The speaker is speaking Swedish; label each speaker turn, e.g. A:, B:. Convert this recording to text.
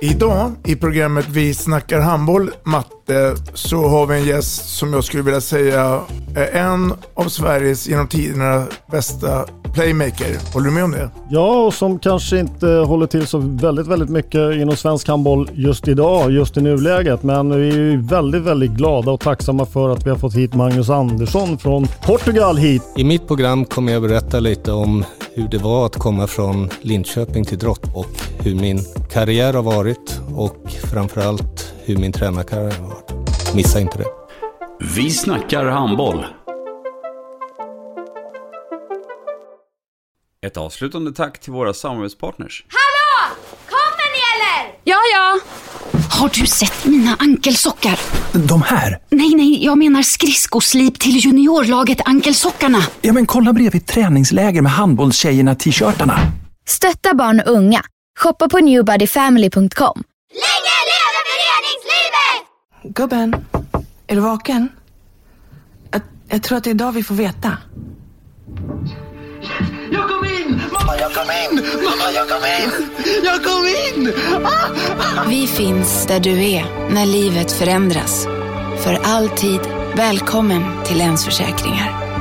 A: Idag i programmet Vi snackar handboll, Matte, så har vi en gäst som jag skulle vilja säga är en av Sveriges genom tiderna bästa playmaker. Håller du med om det?
B: Ja, och som kanske inte håller till så väldigt, väldigt mycket inom svensk handboll just idag, just i nuläget. Men vi är ju väldigt, väldigt glada och tacksamma för att vi har fått hit Magnus Andersson från Portugal hit.
C: I mitt program kommer jag berätta lite om hur det var att komma från Linköping till Drott och hur min karriär har varit och framförallt hur min tränarkarriär har varit. Missa inte det.
D: Vi snackar handboll. Ett avslutande tack till våra samarbetspartners.
E: Hallå! Kommer ni eller?
F: Ja, ja. Har du sett mina ankelsockar?
G: De här?
F: Nej, nej, jag menar skridskoslip till juniorlaget Ankelsockarna.
G: Ja, men kolla bredvid träningsläger med handbollstjejerna-t-shirtarna.
H: Stötta barn och unga. Shoppa på newbodyfamily.com.
E: Länge leve föreningslivet!
I: Gubben, är du vaken? Jag, jag tror att det är idag vi får veta.
J: Jag kom in! Mamma, jag kom in! Mamma, jag kom in! Jag kom in! Ah!
F: Vi finns där du är när livet förändras. För alltid välkommen till Länsförsäkringar.